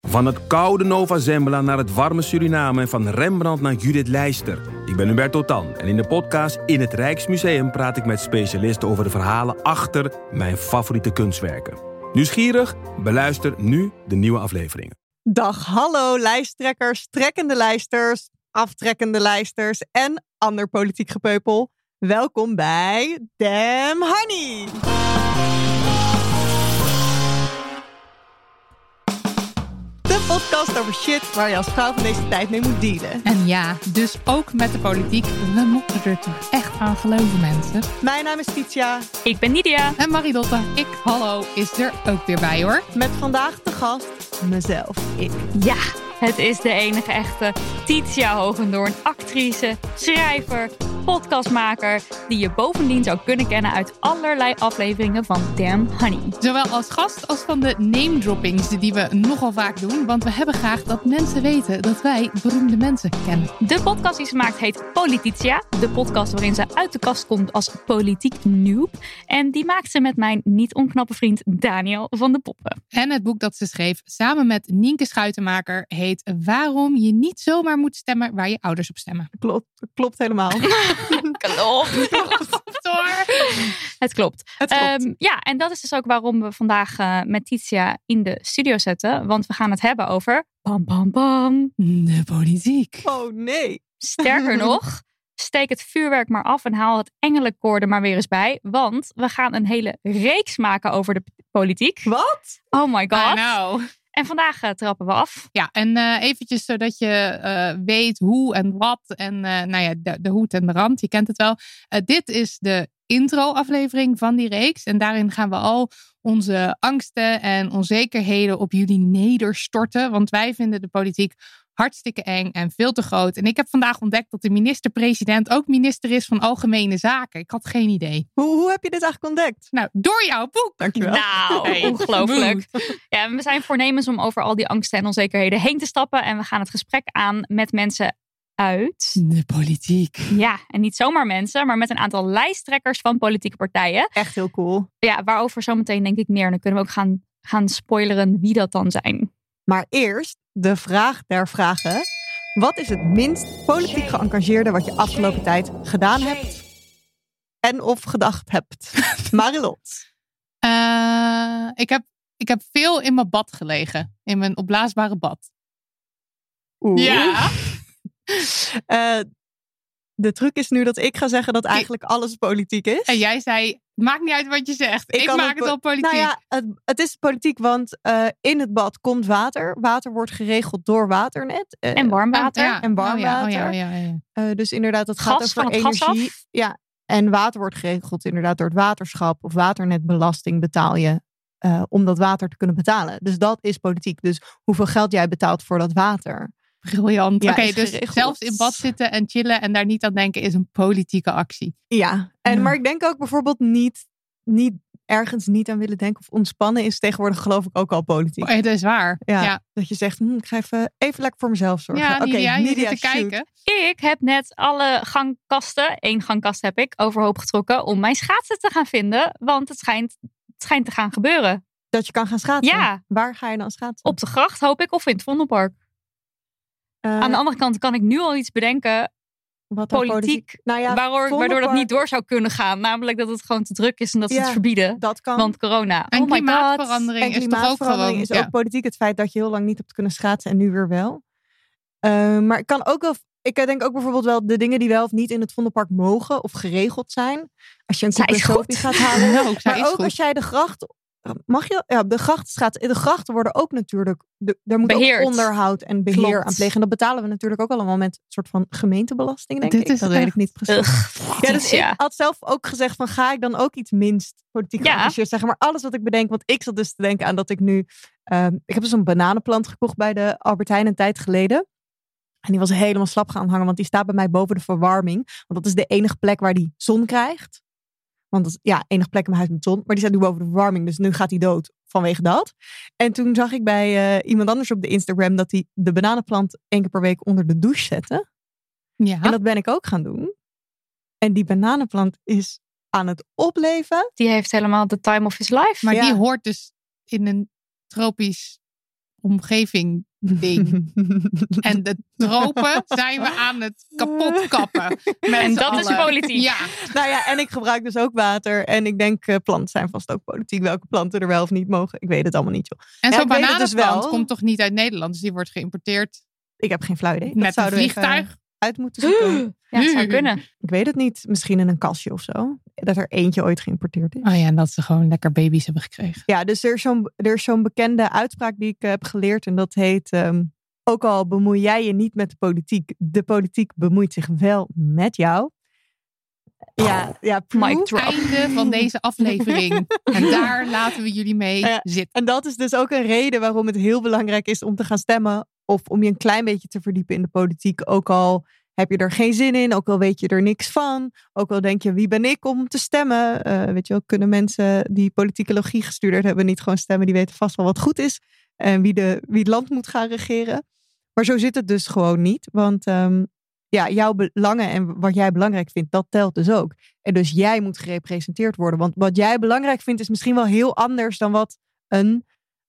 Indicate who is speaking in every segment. Speaker 1: Van het koude Nova Zembla naar het warme Suriname en van Rembrandt naar Judith Leister. Ik ben Hubert Totan en in de podcast In het Rijksmuseum praat ik met specialisten over de verhalen achter mijn favoriete kunstwerken. Nieuwsgierig? Beluister nu de nieuwe afleveringen.
Speaker 2: Dag, hallo lijsttrekkers, trekkende lijsters, aftrekkende lijsters en ander politiek gepeupel. Welkom bij Damn Honey. De podcast over shit waar je als vrouw van deze tijd mee moet dealen.
Speaker 3: En ja, dus ook met de politiek, we moeten er toch echt aan geloven mensen.
Speaker 2: Mijn naam is Titia,
Speaker 4: Ik ben Nidia.
Speaker 3: En Maridotte, ik hallo, is er ook weer bij hoor.
Speaker 2: met vandaag de gast mezelf, ik.
Speaker 4: Ja, het is de enige echte Titia Hogendoorn. Actrice, schrijver, podcastmaker. Die je bovendien zou kunnen kennen uit allerlei afleveringen van Damn Honey.
Speaker 3: Zowel als gast als van de name droppings die we nogal vaak doen. Want we hebben graag dat mensen weten dat wij beroemde mensen kennen.
Speaker 4: De podcast die ze maakt heet Polititia. De podcast waarin ze uit de kast komt als politiek noob. En die maakt ze met mijn niet onknappe vriend Daniel van de Poppen.
Speaker 3: En het boek dat ze schreef samen met Nienke Schuitenmaker heet Waarom je niet zomaar moet stemmen waar je ouders op stemmen.
Speaker 2: Klopt, klopt helemaal.
Speaker 4: Klopt. Het klopt.
Speaker 2: Het klopt.
Speaker 4: Ehm, ja, en dat is dus ook waarom we vandaag eh, met Titia in de studio zetten. Want we gaan het hebben over... Bam, bam, bam.
Speaker 3: De politiek.
Speaker 2: oh nee.
Speaker 4: Sterker nog, steek het vuurwerk maar af en haal het engelenkoor er maar weer eens bij. Want we gaan een hele reeks maken over de politiek.
Speaker 2: Wat?
Speaker 4: Oh my god.
Speaker 3: nou.
Speaker 4: En vandaag eh, trappen we af.
Speaker 3: Ja, en eh, eventjes zodat je eh, weet hoe en wat en eh, nou ja, de, de hoed en de rand, je kent het wel. Eh, dit is de intro-aflevering van die reeks en daarin gaan we al onze angsten en onzekerheden op jullie nederstorten, want wij vinden de politiek hartstikke eng en veel te groot. En ik heb vandaag ontdekt dat de minister-president ook minister is van Algemene Zaken. Ik had geen idee.
Speaker 2: Hoe, hoe heb je dit eigenlijk ontdekt?
Speaker 3: Nou, door jouw boek.
Speaker 2: Dankjewel.
Speaker 4: Nou,
Speaker 3: Hey,
Speaker 4: ongelooflijk. Ja, en we zijn voornemens om over al die angsten en onzekerheden heen te stappen. En we gaan het gesprek aan met mensen uit.
Speaker 3: De politiek.
Speaker 4: Ja, en niet zomaar mensen, maar met een aantal lijsttrekkers van politieke partijen.
Speaker 2: Echt heel cool.
Speaker 4: Ja, waarover zometeen denk ik meer. En dan kunnen we ook gaan, gaan spoileren wie dat dan zijn.
Speaker 2: Maar eerst de vraag der vragen. Wat is het minst politiek geëngageerde wat je afgelopen tijd gedaan hebt en of gedacht hebt? Marilot.
Speaker 3: Eh, ik, heb, ik heb veel in mijn bad gelegen. In mijn opblaasbare bad.
Speaker 2: Oeh. Eh, de truc is nu dat ik ga zeggen dat eigenlijk alles politiek is.
Speaker 3: En jij zei, maakt niet uit wat je zegt. Ik,
Speaker 2: kan
Speaker 3: maak
Speaker 2: ook
Speaker 3: het al politiek. Oh,
Speaker 2: Nou ja, het, het is politiek, want eh, in het bad komt water. Water wordt geregeld door waternet. Eh,
Speaker 4: En warm water.
Speaker 3: Ja.
Speaker 2: en warm
Speaker 3: Oh ja, oh ja,
Speaker 2: water.
Speaker 3: oh ja, ja.
Speaker 2: eh, dus inderdaad, het gaat
Speaker 4: Gas
Speaker 2: over
Speaker 4: van het gas
Speaker 2: energie.
Speaker 4: af?
Speaker 2: Ja, en water wordt geregeld inderdaad door het waterschap of waternetbelasting betaal je eh, om dat water te kunnen betalen. Dus dat is politiek. Dus hoeveel geld jij betaalt voor dat water.
Speaker 3: Briljant.
Speaker 2: Ja,
Speaker 3: Oké,
Speaker 2: is
Speaker 3: dus
Speaker 2: geregeld.
Speaker 3: zelfs in bad zitten en chillen en daar niet aan denken is een politieke actie.
Speaker 2: Ja, en,
Speaker 3: Ja.
Speaker 2: maar ik denk ook bijvoorbeeld niet, niet ergens niet aan willen denken of ontspannen is tegenwoordig geloof ik ook al politiek.
Speaker 3: Oh, dat is waar.
Speaker 2: Ja,
Speaker 3: ja.
Speaker 2: Dat je zegt, hm, ik ga even, even lekker voor mezelf zorgen.
Speaker 3: Ja,
Speaker 2: Oké,
Speaker 3: Nidia, je
Speaker 2: Nidia,
Speaker 3: zit te
Speaker 2: shoot. Oh
Speaker 3: kijken.
Speaker 4: Ik heb net alle gangkasten, één gangkast heb ik, overhoop getrokken om mijn schaatsen te gaan vinden. Want het schijnt, het schijnt te gaan gebeuren.
Speaker 2: Dat je kan gaan schaatsen.
Speaker 4: Ja.
Speaker 2: Waar ga je dan schaatsen?
Speaker 4: Op de gracht hoop ik of in het Vondelpark.
Speaker 2: Eh,
Speaker 4: Aan de andere kant kan ik nu al iets bedenken,
Speaker 2: wat dan
Speaker 4: politiek,
Speaker 2: Nou ja,
Speaker 4: waardoor, waardoor dat
Speaker 2: Vondelpark-
Speaker 4: niet door zou kunnen gaan. Namelijk dat het gewoon te druk is en dat ze het
Speaker 2: Ja.
Speaker 4: verbieden.
Speaker 2: dat kan.
Speaker 4: Want corona.
Speaker 3: En
Speaker 4: oh my god.
Speaker 3: klimaatverandering
Speaker 2: en
Speaker 3: is toch ook gewoon...
Speaker 2: is
Speaker 3: ja.
Speaker 2: ook politiek. Het feit dat je heel lang niet hebt kunnen schaatsen en nu weer wel. Eh, maar ik kan ook wel. Ik denk ook bijvoorbeeld wel de dingen die wel of niet in het Vondelpark mogen of geregeld zijn. Als je een
Speaker 4: Zij
Speaker 2: koek en
Speaker 4: is goed.
Speaker 2: sopie gaat halen.
Speaker 3: Ja, ook zij
Speaker 2: maar
Speaker 3: is
Speaker 2: ook
Speaker 3: goed.
Speaker 2: als jij de gracht Mag je? Ja, de grachtstraat. De grachten worden ook natuurlijk. de- daar moet
Speaker 4: Beheerd.
Speaker 2: ook onderhoud en beheer
Speaker 4: Klopt.
Speaker 2: aan plegen. En dat betalen we natuurlijk ook allemaal met een soort van gemeentebelasting, denk
Speaker 3: Dit
Speaker 2: ik.
Speaker 3: is
Speaker 2: dat weet ik
Speaker 3: echt-
Speaker 2: niet precies. Ja, dus
Speaker 4: ja.
Speaker 2: ik had zelf ook gezegd van ga ik dan ook iets minst politiek
Speaker 4: Ja.
Speaker 2: geëngageerd zeggen. Maar alles wat ik bedenk, want ik zat dus te denken aan dat ik nu... ehm, ik heb dus een bananenplant gekocht bij de Albert Heijn een tijd geleden. En die was helemaal slap gaan hangen, want die staat bij mij boven de verwarming. Want dat is de enige plek waar die zon krijgt. Want dat is, ja, enige plek in mijn huis met zon. Maar die staat nu boven de verwarming, dus nu gaat hij dood vanwege dat. En toen zag ik bij eh, iemand anders op de Instagram dat hij de bananenplant één keer per week onder de douche zette.
Speaker 3: Ja.
Speaker 2: En dat ben ik ook gaan doen. En die bananenplant is aan het opleven.
Speaker 4: Die heeft helemaal de time of his life.
Speaker 3: Maar
Speaker 2: Ja.
Speaker 3: die hoort dus in een tropisch omgeving ding. En de tropen zijn we aan het kapot kappen.
Speaker 4: en dat is politiek.
Speaker 3: Ja,
Speaker 2: nou ja, en ik gebruik dus ook water. En ik denk, eh, planten zijn vast ook politiek. Welke planten er wel of niet mogen. Ik weet het allemaal niet, joh.
Speaker 3: en
Speaker 2: Ja,
Speaker 3: zo'n
Speaker 2: ik weet het dus
Speaker 3: bananenplant
Speaker 2: wel.
Speaker 3: komt toch niet uit Nederland? Dus die wordt geïmporteerd
Speaker 2: Ik heb geen flauw idee.
Speaker 3: met een
Speaker 2: zouden we even
Speaker 3: vliegtuig.
Speaker 2: uit moeten zoeken.
Speaker 4: Ja, het zou kunnen.
Speaker 2: ik weet het niet. Misschien in een kastje of zo. Dat er eentje ooit geïmporteerd is.
Speaker 3: Oh ja, en dat ze gewoon lekker baby's hebben gekregen.
Speaker 2: Ja, dus er is zo'n er is zo'n bekende uitspraak die ik eh, heb geleerd. En dat heet, ehm, ook al bemoei jij je niet met de politiek. De politiek bemoeit zich wel met jou. Ja, ja,
Speaker 4: Mic
Speaker 2: proef.
Speaker 4: drop.
Speaker 3: Einde van deze aflevering. En daar laten we jullie mee
Speaker 2: Ja.
Speaker 3: zitten.
Speaker 2: En dat is dus ook een reden waarom het heel belangrijk is om te gaan stemmen. Of om je een klein beetje te verdiepen in de politiek. Ook al heb je er geen zin in, ook al weet je er niks van. Ook al denk je, wie ben ik om te stemmen? Eh, weet je wel, kunnen mensen die politieke logie gestudeerd hebben niet gewoon stemmen? Die weten vast wel wat goed is. En wie, de, wie het land moet gaan regeren. Maar zo zit het dus gewoon niet. Want ehm, ja, jouw belangen en wat jij belangrijk vindt, dat telt dus ook. En dus jij moet gerepresenteerd worden. Want wat jij belangrijk vindt is misschien wel heel anders dan wat een,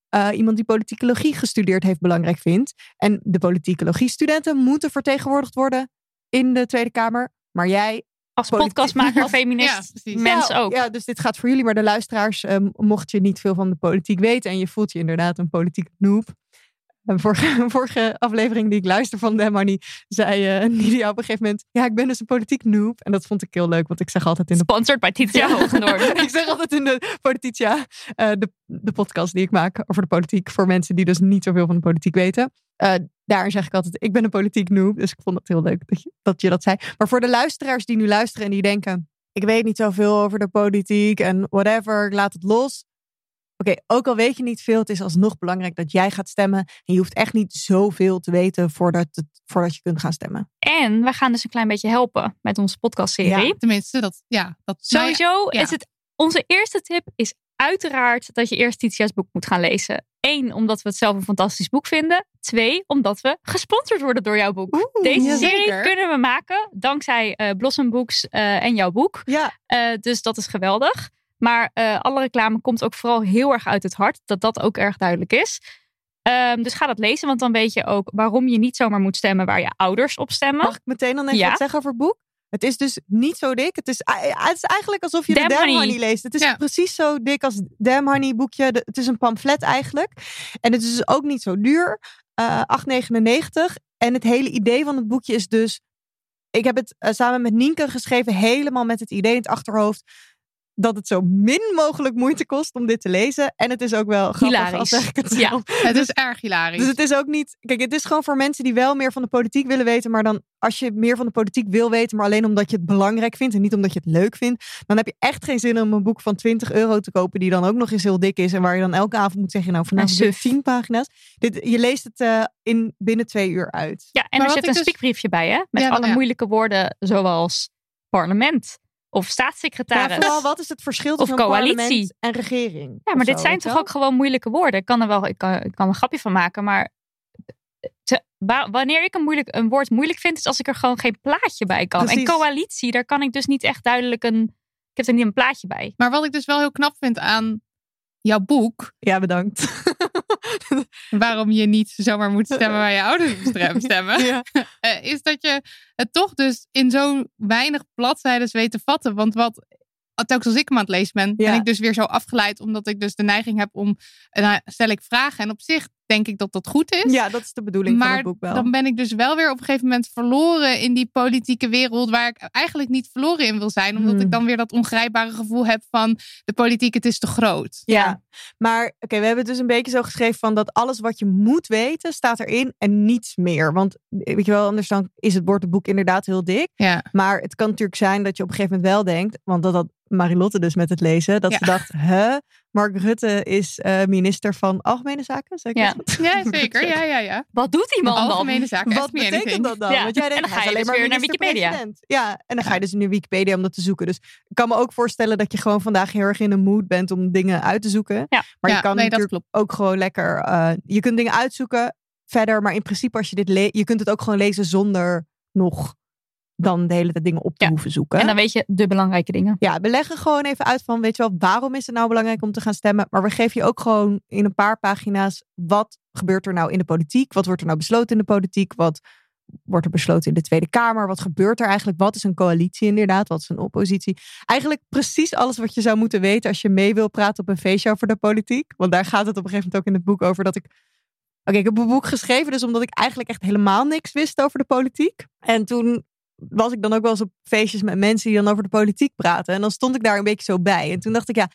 Speaker 2: eh, iemand die politicologie gestudeerd heeft belangrijk vindt. En de politicologie studenten moeten vertegenwoordigd worden in de Tweede Kamer. Maar jij
Speaker 4: Als
Speaker 2: Politiek.
Speaker 4: podcastmaker,
Speaker 2: Als-
Speaker 3: Ja,
Speaker 4: feminist,
Speaker 3: precies.
Speaker 4: mens
Speaker 2: Ja,
Speaker 4: ook.
Speaker 2: Ja, dus dit gaat voor jullie, maar de luisteraars, eh, mocht je niet veel van de politiek weten en je voelt je inderdaad een politiek noob. Een vorige, vorige aflevering die ik luister van Dem Honey, zei eh Nidia op een gegeven moment: Ja, ik ben dus een politiek noob. En dat vond ik heel leuk, want ik zeg altijd in de
Speaker 4: Sponsored bij Titia
Speaker 2: Ja.
Speaker 4: Hoogendoorn.
Speaker 2: ik zeg altijd in de Polititia, eh, de, de podcast die ik maak over de politiek, voor mensen die dus niet zoveel van de politiek weten. Eh daar zeg ik altijd, ik ben een politiek noob, dus ik vond het heel leuk dat je, dat je dat zei. Maar voor de luisteraars die nu luisteren en die denken, ik weet niet zoveel over de politiek en whatever, ik laat het los. Oké, ook al weet je niet veel, het is alsnog belangrijk dat jij gaat stemmen. En je hoeft echt niet zoveel te weten voordat, het, voordat je kunt gaan stemmen.
Speaker 4: En we gaan dus een klein beetje helpen met onze podcastserie.
Speaker 2: Ja. Nou
Speaker 3: Tenminste, dat, ja, dat nou ja,
Speaker 4: Sowieso
Speaker 3: ja.
Speaker 4: is het... Onze eerste tip is uiteraard dat je eerst Titia's boek moet gaan lezen. Eén, omdat we het zelf een fantastisch boek vinden. Twee, omdat we gesponsord worden door jouw boek. Deze
Speaker 3: jazeker.
Speaker 4: serie kunnen we maken dankzij eh Blossom Books eh, en jouw boek.
Speaker 2: Ja,
Speaker 4: Eh, dus dat is geweldig. Maar eh, alle reclame komt ook vooral heel erg uit het hart. Dat dat ook erg duidelijk is. Ehm, dus ga dat lezen, want dan weet je ook waarom je niet zomaar moet stemmen waar je ouders op stemmen.
Speaker 2: Mag ik meteen dan even
Speaker 4: Ja.
Speaker 2: wat zeggen over het boek? Het is dus niet zo dik. Het is, het is eigenlijk alsof je
Speaker 4: Damn
Speaker 2: de Damn
Speaker 4: Honey.
Speaker 2: Honey. leest. Het is
Speaker 3: Ja.
Speaker 2: precies zo dik als het Damn Honey boekje. De- het is een pamflet eigenlijk. En het is dus ook niet zo duur. Eh, 8,99. En het hele idee van het boekje is dus... Ik heb het eh, samen met Nienke geschreven. Helemaal met het idee in het achterhoofd. Dat het zo min mogelijk moeite kost om dit te lezen. En het is ook wel grappig
Speaker 4: Hilarisch.
Speaker 2: als zeg ik het
Speaker 4: Ja.
Speaker 2: zelf.
Speaker 3: het is erg hilarisch.
Speaker 2: Dus het is ook niet. Kijk, het is gewoon voor mensen die wel meer van de politiek willen weten. Maar dan als je meer van de politiek wil weten, maar alleen omdat je het belangrijk vindt en niet omdat je het leuk vindt. Dan heb je echt geen zin om een boek van 20 euro te kopen. Die dan ook nog eens heel dik is. En waar je dan elke avond moet zeggen. Nou, vanavond doe ik
Speaker 4: suf.
Speaker 2: 10 pagina's. Dit, je leest het eh, in binnen twee uur uit.
Speaker 4: Ja, en
Speaker 3: Maar
Speaker 4: er
Speaker 3: wat
Speaker 4: zit
Speaker 3: ik
Speaker 4: een
Speaker 3: dus-
Speaker 4: spiekbriefje bij, hè? Met
Speaker 3: Ja,
Speaker 4: alle
Speaker 3: nou ja.
Speaker 4: moeilijke woorden zoals parlement of
Speaker 2: Maar
Speaker 4: staatssecretaris.
Speaker 2: vooral, wat is het verschil
Speaker 4: Of
Speaker 2: tussen
Speaker 4: coalitie.
Speaker 2: een parlement en regering?
Speaker 4: Ja,
Speaker 2: Of
Speaker 4: maar dit
Speaker 2: zo,
Speaker 4: zijn
Speaker 2: weet je
Speaker 4: toch
Speaker 2: wel?
Speaker 4: ook gewoon moeilijke woorden. Ik kan er wel, ik kan, ik kan er een grapje van maken, maar te- wa- wanneer ik een, moeilijk, een woord moeilijk vind, is als ik er gewoon geen plaatje bij kan. En
Speaker 2: Precies.
Speaker 4: coalitie, daar kan ik dus niet echt duidelijk een. Ik heb er niet een plaatje bij.
Speaker 3: Maar wat ik dus wel heel knap vind aan jouw boek,
Speaker 2: Ja, bedankt.
Speaker 3: waarom je niet zomaar moet stemmen waar je ouders op stem- stemmen,
Speaker 2: ja.
Speaker 3: eh, is dat je het toch dus in zo weinig bladzijden weet te vatten. Want wat eh, telkens als ik hem aan het lezen ben,
Speaker 2: Ja.
Speaker 3: ben ik dus weer zo afgeleid, omdat ik dus de neiging heb om, eh, nou, stel ik vragen. En op zich denk ik dat dat goed is.
Speaker 2: Ja, dat is de bedoeling van
Speaker 3: Maar
Speaker 2: het boek wel.
Speaker 3: dan ben ik dus wel weer op een gegeven moment verloren in die politieke wereld waar ik eigenlijk niet verloren in wil zijn. Omdat
Speaker 2: Hmm.
Speaker 3: ik dan weer dat ongrijpbare gevoel heb van de politiek, het is te groot.
Speaker 2: Ja. Maar oké, we hebben het dus een beetje zo geschreven van dat alles wat je moet weten staat erin en niets meer. Want weet je wel, anders dan is het wordt het boek inderdaad heel dik.
Speaker 3: Ja.
Speaker 2: Maar het kan natuurlijk zijn dat je op een gegeven moment wel denkt, want dat had Marilotte dus met het lezen, dat
Speaker 3: Ja.
Speaker 2: ze dacht, hè, Mark Rutte is eh, minister van Algemene Zaken, zeg ik
Speaker 4: Ja.
Speaker 2: dat?
Speaker 3: Ja, zeker. Ja, ja, ja.
Speaker 4: Wat doet die man dan?
Speaker 3: Algemene zaken.
Speaker 2: Wat
Speaker 3: ask me
Speaker 2: betekent
Speaker 3: anything.
Speaker 2: dat dan?
Speaker 4: Ja.
Speaker 2: Want jij
Speaker 4: En
Speaker 2: denkt,
Speaker 4: dan ga
Speaker 2: hij is
Speaker 4: je
Speaker 2: alleen
Speaker 4: dus
Speaker 2: maar
Speaker 4: weer naar Wikipedia.
Speaker 2: minister-president. Ja, en dan ga je dus naar Wikipedia om dat te zoeken. Dus ik kan me ook voorstellen dat je gewoon vandaag heel erg in een mood bent om dingen uit te zoeken.
Speaker 4: Ja.
Speaker 2: Maar
Speaker 3: Ja,
Speaker 2: je kan
Speaker 3: nee, dat
Speaker 2: natuurlijk
Speaker 3: klopt.
Speaker 2: ook gewoon lekker, eh, je kunt dingen uitzoeken verder. Maar in principe als je dit leest, je kunt het ook gewoon lezen zonder nog dan de hele tijd dingen op te
Speaker 4: Ja.
Speaker 2: hoeven zoeken.
Speaker 4: En dan weet je de belangrijke dingen.
Speaker 2: Ja, we leggen gewoon even uit van, weet je wel, waarom is het nou belangrijk om te gaan stemmen? Maar we geven je ook gewoon in een paar pagina's, wat gebeurt er nou in de politiek? Wat wordt er nou besloten in de politiek? Wat wordt er besloten in de Tweede Kamer? Wat gebeurt er eigenlijk? Wat is een coalitie inderdaad? Wat is een oppositie? Eigenlijk precies alles wat je zou moeten weten als je mee wil praten op een feestje over de politiek. Want daar gaat het op een gegeven moment ook in het boek over dat ik... Oké, ik heb een boek geschreven, dus omdat ik eigenlijk echt helemaal niks wist over de politiek. En toen was ik dan ook wel eens op feestjes met mensen die dan over de politiek praten. En dan stond ik daar een beetje zo bij. En toen dacht ik, ja,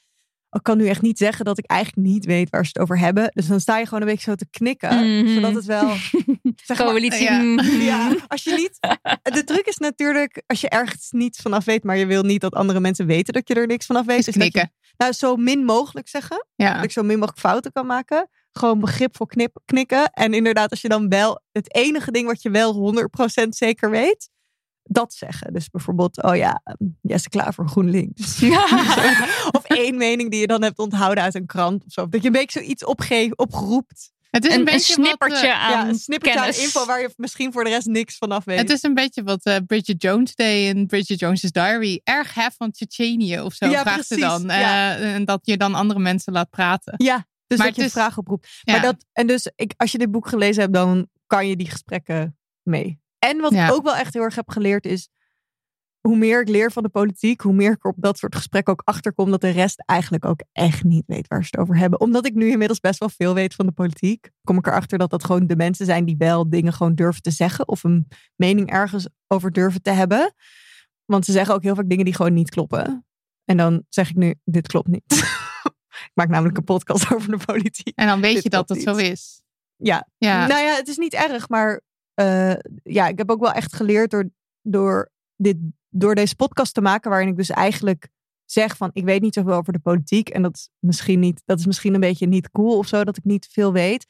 Speaker 2: ik kan nu echt niet zeggen dat ik eigenlijk niet weet waar ze het over hebben. Dus dan sta je gewoon een beetje zo te knikken.
Speaker 4: Mhm.
Speaker 2: Zodat het wel. Zeg maar,
Speaker 4: Coalitie.
Speaker 3: ja.
Speaker 4: mm.
Speaker 2: ja, als je niet. De truc is natuurlijk, als je ergens niets vanaf weet, maar je wil niet dat andere mensen weten dat je er niks vanaf weet.
Speaker 3: Is
Speaker 2: is dat je-
Speaker 3: knikken.
Speaker 2: nou, zo min mogelijk zeggen.
Speaker 3: Ja.
Speaker 2: Dat ik zo min mogelijk fouten kan maken. Gewoon begrip voor knip, knikken. En inderdaad, als je dan wel het enige ding wat je wel 100% zeker weet, dat zeggen. Dus bijvoorbeeld, oh ja, ehm, Jesse Klaver, GroenLinks. of één mening die je dan hebt onthouden uit een krant of zo. Of Dat je een beetje zoiets opge- oproept.
Speaker 3: Het is
Speaker 4: Een,
Speaker 3: een,
Speaker 4: een,
Speaker 3: beetje Wat,
Speaker 4: snippertje
Speaker 3: eh,
Speaker 4: aan
Speaker 2: ja, een snippertje aan
Speaker 4: kennis.
Speaker 2: info waar je misschien voor de rest niks vanaf weet.
Speaker 3: het is een beetje wat eh, Bridget Jones deed in Bridget Jones's Diary. Erg hef van Tsjetsjenië of zo,
Speaker 2: Ja,
Speaker 3: vraagt ze
Speaker 2: precies,
Speaker 3: dan.
Speaker 2: ja.
Speaker 3: Eh, en dat je dan andere mensen laat praten.
Speaker 2: Ja, dus
Speaker 3: Maar
Speaker 2: dat je
Speaker 3: het
Speaker 2: een
Speaker 3: is-
Speaker 2: vraag oproept.
Speaker 3: Ja.
Speaker 2: Maar dat, en dus ik, als je dit boek gelezen hebt, dan kan je die gesprekken mee. En wat
Speaker 3: Ja.
Speaker 2: ik ook wel echt heel erg heb geleerd is, hoe meer ik leer van de politiek, hoe meer ik er op dat soort gesprekken ook achterkom dat de rest eigenlijk ook echt niet weet waar ze het over hebben. Omdat ik nu inmiddels best wel veel weet van de politiek, kom ik erachter dat dat gewoon de mensen zijn die wel dingen gewoon durven te zeggen of een mening ergens over durven te hebben. Want ze zeggen ook heel vaak dingen die gewoon niet kloppen. En dan zeg ik nu, dit klopt niet. ik maak namelijk een podcast over de politiek.
Speaker 3: En dan weet
Speaker 2: Dit
Speaker 3: je dat dat
Speaker 2: klopt
Speaker 3: zo
Speaker 2: niet.
Speaker 3: is.
Speaker 2: Ja.
Speaker 3: Ja.
Speaker 2: Nou ja, het is niet erg, maar eh, ja, ik heb ook wel echt geleerd door, door, dit, door deze podcast te maken, waarin ik dus eigenlijk zeg van ik weet niet zoveel over de politiek en dat is misschien niet, dat is misschien een beetje niet cool of zo, dat ik niet veel weet.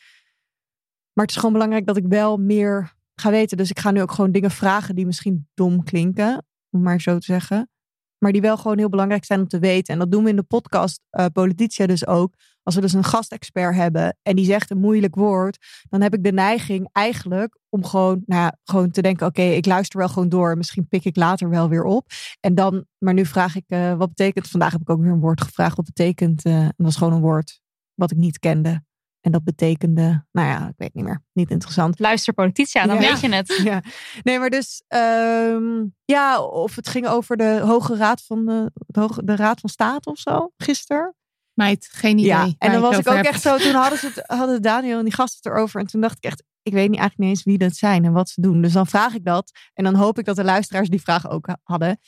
Speaker 2: Maar het is gewoon belangrijk dat ik wel meer ga weten. Dus ik ga nu ook gewoon dingen vragen die misschien dom klinken, om maar zo te zeggen. Maar die wel gewoon heel belangrijk zijn om te weten. En dat doen we in de podcast eh Polititia dus ook. Als we dus een gastexpert hebben en die zegt een moeilijk woord dan heb ik de neiging eigenlijk om gewoon, nou ja, gewoon te denken: oké, ik luister wel gewoon door. Misschien pik ik later wel weer op. En dan, maar nu vraag ik: eh, wat betekent. Vandaag heb ik ook weer een woord gevraagd. Wat betekent. eh, en dat was gewoon een woord wat ik niet kende. En dat betekende, nou ja, ik weet niet meer. Niet interessant.
Speaker 4: Luister politici aan, dan
Speaker 2: Ja.
Speaker 4: weet je het.
Speaker 2: Ja. Nee, maar dus, ehm, ja, of het ging over de Hoge Raad van de, de, Hoge- de Raad van State of zo, gisteren.
Speaker 3: Meid, geen idee.
Speaker 2: Ja, en
Speaker 3: waar
Speaker 2: dan
Speaker 3: je
Speaker 2: was
Speaker 3: het
Speaker 2: ik ook
Speaker 3: over hebt.
Speaker 2: echt zo. Toen hadden, ze het, hadden Daniel en die gasten het erover. En toen dacht ik echt, ik weet niet eigenlijk niet eens wie dat zijn en wat ze doen. Dus dan vraag ik dat. En dan hoop ik dat de luisteraars die vraag ook ha- hadden.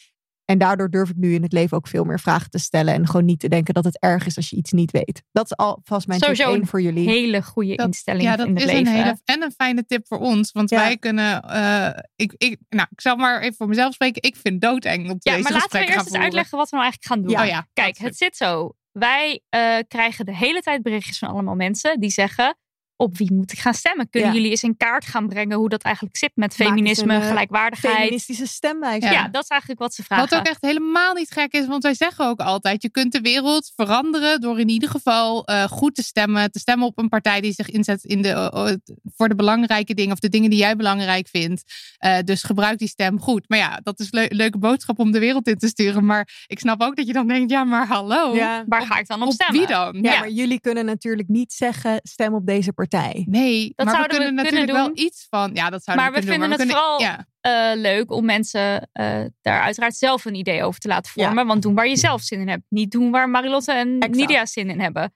Speaker 2: En daardoor durf ik nu in het leven ook veel meer vragen te stellen. En gewoon niet te denken dat het erg is als je iets niet weet. Dat is alvast mijn tip
Speaker 4: Sowieso
Speaker 2: één voor jullie.
Speaker 4: Hele goede
Speaker 3: Dat-
Speaker 4: instelling
Speaker 3: Ja, dat
Speaker 4: in
Speaker 3: is
Speaker 4: het leven.
Speaker 3: een hele en een fijne tip voor ons. Want
Speaker 2: Ja.
Speaker 3: wij kunnen. eh, ik, ik, nou, ik zal maar even voor mezelf spreken. Ik vind doodeng op
Speaker 4: Ja,
Speaker 3: deze
Speaker 4: maar laten we
Speaker 3: gesprekken
Speaker 4: eerst
Speaker 3: gaan
Speaker 4: eens
Speaker 3: voeren.
Speaker 4: uitleggen wat we nou eigenlijk gaan doen.
Speaker 2: Ja.
Speaker 3: Oh ja,
Speaker 4: Kijk,
Speaker 3: dat is
Speaker 4: het zit zo. Wij eh, krijgen de hele tijd berichtjes van allemaal mensen die zeggen... op wie moet ik gaan stemmen? Kunnen
Speaker 2: Ja.
Speaker 4: jullie eens in kaart gaan brengen hoe dat eigenlijk zit met
Speaker 2: Maak eens
Speaker 4: feminisme,
Speaker 2: een, eh,
Speaker 4: gelijkwaardigheid?
Speaker 2: Feministische stemwijzer.
Speaker 4: Ja.
Speaker 3: Ja.
Speaker 4: dat is eigenlijk wat ze vragen.
Speaker 3: Wat ook echt helemaal niet gek is, want wij zeggen ook altijd: je kunt de wereld veranderen door in ieder geval eh, goed te stemmen. Te stemmen op een partij die zich inzet in de, eh, eh, voor de belangrijke dingen of de dingen die jij belangrijk vindt. Eh, dus gebruik die stem goed. Maar ja, dat is een leuke boodschap om de wereld in te sturen. Maar ik snap ook dat je dan denkt: ja, maar hallo.
Speaker 2: Ja.
Speaker 4: Waar ga ik dan op,
Speaker 3: Op
Speaker 4: stemmen?
Speaker 3: wie dan?
Speaker 2: Ja, maar jullie kunnen natuurlijk niet zeggen, stem op deze partij.
Speaker 3: Nee,
Speaker 4: Dat
Speaker 3: maar we
Speaker 4: zouden we
Speaker 3: kunnen
Speaker 4: kunnen
Speaker 3: natuurlijk
Speaker 4: doen.
Speaker 3: wel iets van. Ja, dat zouden
Speaker 4: Maar
Speaker 3: we
Speaker 4: we
Speaker 3: kunnen
Speaker 4: vinden
Speaker 3: doen.
Speaker 4: het
Speaker 3: we kunnen-
Speaker 4: Eh, leuk om mensen eh, daar uiteraard zelf een idee over te laten
Speaker 2: Ja.
Speaker 4: vormen. Want doen waar je zelf zin in hebt. Niet doen waar Marilotte en
Speaker 2: Exact.
Speaker 4: Nidia zin in hebben.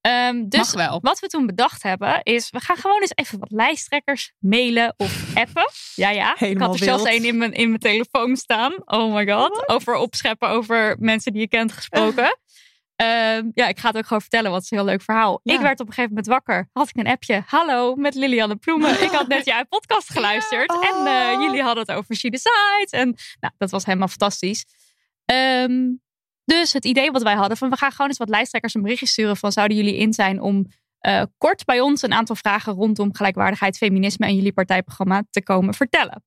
Speaker 4: Ehm, dus
Speaker 3: Mag wel.
Speaker 4: wat we toen bedacht hebben is, we gaan gewoon eens even wat lijsttrekkers mailen of appen. Ja, ja. ik
Speaker 2: Helemaal
Speaker 4: had er zelfs
Speaker 2: wild.
Speaker 4: één in mijn, in mijn telefoon staan. Oh my god. Over opscheppen, over mensen die je kent gesproken.
Speaker 2: Eh.
Speaker 4: Ehm, ja, ik ga het ook gewoon vertellen, want het is een heel leuk verhaal.
Speaker 2: Ja.
Speaker 4: Ik werd op een gegeven moment wakker. Had ik een appje. Hallo, met Lilianne Ploemen. Ik had net jouw podcast geluisterd.
Speaker 2: Ja.
Speaker 4: En eh,
Speaker 2: Oh.
Speaker 4: jullie hadden het over Sides. En nou, dat was helemaal fantastisch. Ehm, dus het idee wat wij hadden van we gaan gewoon eens wat lijsttrekkers een berichtje sturen van zouden jullie in zijn om eh, kort bij ons een aantal vragen rondom gelijkwaardigheid, feminisme en jullie partijprogramma te komen vertellen.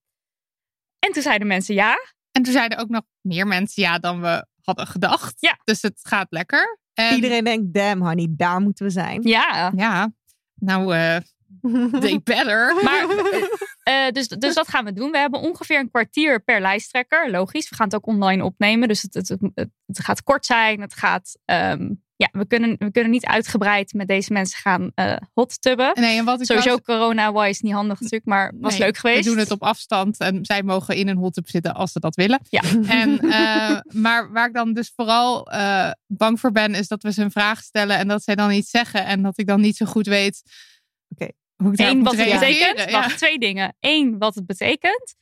Speaker 4: En toen zeiden mensen ja.
Speaker 3: En toen zeiden ook nog meer mensen ja dan we hadden gedacht.
Speaker 4: Ja.
Speaker 3: Dus het gaat lekker. En,
Speaker 2: Iedereen denkt, damn honey, daar moeten we zijn.
Speaker 4: Ja.
Speaker 3: Ja, nou, eh they better.
Speaker 4: Maar, eh, dus, dus dat gaan we doen. We hebben ongeveer een kwartier per lijsttrekker. Logisch. We gaan het ook online opnemen. Dus het, het, het, het gaat kort zijn. Het gaat. ehm, ja, we kunnen, we kunnen niet uitgebreid met deze mensen gaan eh hot tubben.
Speaker 3: Nee, en wat ik
Speaker 4: Sowieso
Speaker 3: trouwens-
Speaker 4: corona-wise niet handig natuurlijk, maar was
Speaker 3: Nee,
Speaker 4: leuk geweest.
Speaker 3: We doen het op afstand en zij mogen in een hot tub zitten als ze dat willen.
Speaker 4: Ja.
Speaker 3: En, eh, maar waar ik dan dus vooral eh, bang voor ben, is dat we ze een vraag stellen en dat zij dan iets zeggen. En dat ik dan niet zo goed weet
Speaker 2: Oké.
Speaker 3: hoe ik daarop
Speaker 4: Eén,
Speaker 3: moet
Speaker 4: wat het
Speaker 3: reageren.
Speaker 4: betekent.
Speaker 3: Ja.
Speaker 4: Wacht, twee dingen. Eén, wat het betekent.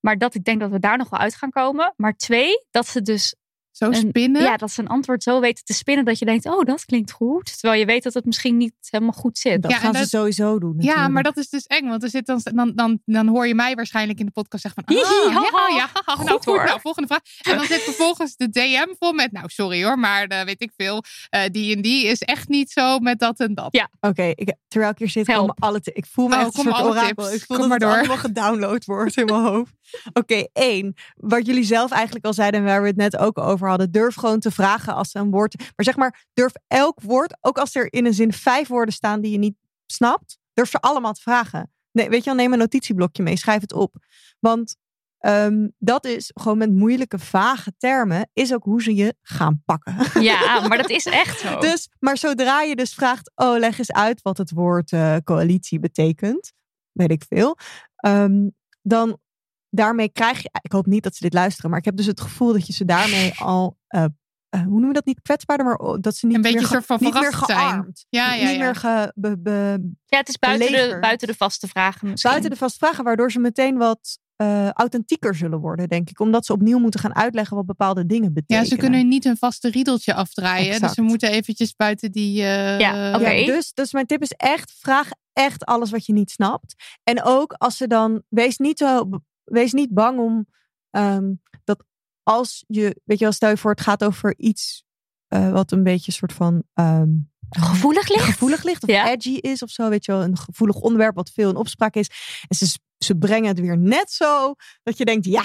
Speaker 4: Maar dat ik denk dat we daar nog wel uit gaan komen. Maar twee, dat ze dus
Speaker 3: Zo
Speaker 4: een-
Speaker 3: spinnen.
Speaker 4: ja, dat ze een antwoord zo weten te spinnen dat je denkt, oh, dat klinkt goed. Terwijl je weet dat het misschien niet helemaal goed zit.
Speaker 2: Dat
Speaker 3: Ja, en
Speaker 2: gaan ze
Speaker 3: dat-
Speaker 2: sowieso doen.
Speaker 3: Ja,
Speaker 2: natuurlijk.
Speaker 3: maar dat is dus eng, want er zit dan, dan, dan, dan hoor je mij waarschijnlijk in de podcast zeggen van...
Speaker 4: Hihi,
Speaker 3: ah,
Speaker 4: haha.
Speaker 3: ja, ja, haha,
Speaker 4: Goed
Speaker 3: nou, goed,
Speaker 4: hoor.
Speaker 3: nou, volgende vraag. En dan zit vervolgens de DM vol met, nou, sorry hoor, maar eh, weet ik veel, eh, die en die is echt niet zo met dat en dat.
Speaker 4: Ja.
Speaker 2: Oké, ik- terwijl ik hier zit,
Speaker 4: Help.
Speaker 2: komen alle ti- ik voel me
Speaker 3: Oh,
Speaker 2: echt een
Speaker 3: komen
Speaker 2: soort
Speaker 3: alle
Speaker 2: orakel.
Speaker 3: tips.
Speaker 2: Ik voel
Speaker 3: Kom
Speaker 2: dat
Speaker 3: maar
Speaker 2: het
Speaker 3: door.
Speaker 2: allemaal gedownload wordt in mijn hoofd. Oké, één. Wat jullie zelf eigenlijk al zeiden en waar we het net ook over hadden. Durf gewoon te vragen als ze een woord... Maar zeg maar, durf elk woord, ook als er in een zin vijf woorden staan die je niet snapt. Durf ze allemaal te vragen. Nee, weet je wel, neem een notitieblokje mee, schrijf het op. Want ehm, dat is gewoon met moeilijke, vage termen, is ook hoe ze je gaan pakken.
Speaker 4: Ja, maar dat is echt zo.
Speaker 3: Oh.
Speaker 2: Dus, maar zodra je dus vraagt, oh, leg eens uit wat het woord eh, coalitie betekent, weet ik veel, ehm, dan daarmee krijg je, ik hoop niet dat ze dit luisteren, maar ik heb dus het gevoel dat je ze daarmee al, eh, eh, hoe noem je dat niet kwetsbaarder, maar oh, dat ze niet
Speaker 3: Een beetje
Speaker 2: meer, ge-
Speaker 3: soort van
Speaker 2: niet meer
Speaker 3: verrast zijn.
Speaker 2: gearmd,
Speaker 3: Ja, ja,
Speaker 2: niet
Speaker 3: ja.
Speaker 2: meer ge, be- be-
Speaker 4: ja, het is buiten de,
Speaker 2: belegerd.
Speaker 4: buiten de vaste vragen misschien.
Speaker 2: buiten de vast vragen, waardoor ze meteen wat eh, authentieker zullen worden, denk ik, omdat ze opnieuw moeten gaan uitleggen wat bepaalde dingen
Speaker 3: Ja,
Speaker 2: betekenen.
Speaker 3: ze kunnen niet hun vaste riedeltje afdraaien. Dus
Speaker 2: Exact.
Speaker 3: ze moeten eventjes buiten die... eh,
Speaker 4: Ja, oké.
Speaker 2: Ja, dus, dus mijn tip is echt, vraag echt alles wat je niet snapt. En ook als ze dan, wees niet, zo, wees niet bang om ehm, dat als je, weet je wel, stel je voor het gaat over iets eh, wat een beetje een soort van ehm,
Speaker 4: Gevoelig licht.
Speaker 2: gevoelig ligt of
Speaker 4: Ja.
Speaker 2: edgy is of zo, weet je wel, een gevoelig onderwerp wat veel in opspraak is. En ze, ze brengen het weer net zo dat je denkt, ja,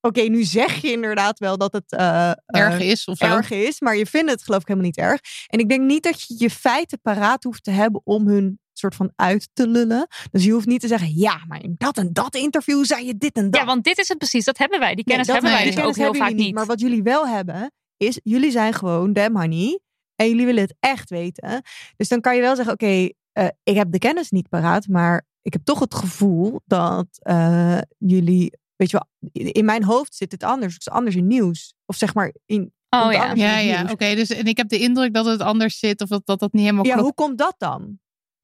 Speaker 2: oké, nu zeg je inderdaad wel dat het eh, eh,
Speaker 3: Erg is of zo.
Speaker 2: erg is. Maar je vindt het geloof ik helemaal niet erg. En ik denk niet dat je je feiten paraat hoeft te hebben om hun soort van uit te lullen. Dus je hoeft niet te zeggen, ja, maar in dat en dat interview zei je dit en dat.
Speaker 4: Ja, want dit is het precies. Dat hebben wij. Die
Speaker 2: Nee,
Speaker 4: kennis
Speaker 2: dat-
Speaker 4: hebben wij
Speaker 3: nee,
Speaker 4: dus
Speaker 2: die
Speaker 4: ook
Speaker 2: kennis
Speaker 4: heel
Speaker 2: hebben
Speaker 4: vaak
Speaker 2: jullie
Speaker 4: niet.
Speaker 2: Maar wat jullie wel hebben, is jullie zijn gewoon damn honey. En jullie willen het echt weten. Dus dan kan je wel zeggen, oké, eh, ik heb de kennis niet paraat. Maar ik heb toch het gevoel dat eh, jullie... Weet je wel, in mijn hoofd zit het anders. Het is anders in nieuws. Of zeg maar in...
Speaker 4: oh
Speaker 2: komt
Speaker 4: ja.
Speaker 2: anders in
Speaker 3: Ja,
Speaker 2: het
Speaker 3: ja,
Speaker 2: nieuws.
Speaker 3: oké. dus, en ik heb de indruk dat het anders zit of dat dat, dat niet helemaal
Speaker 4: Oh,
Speaker 2: Ja,
Speaker 3: klopt.
Speaker 2: hoe komt dat dan?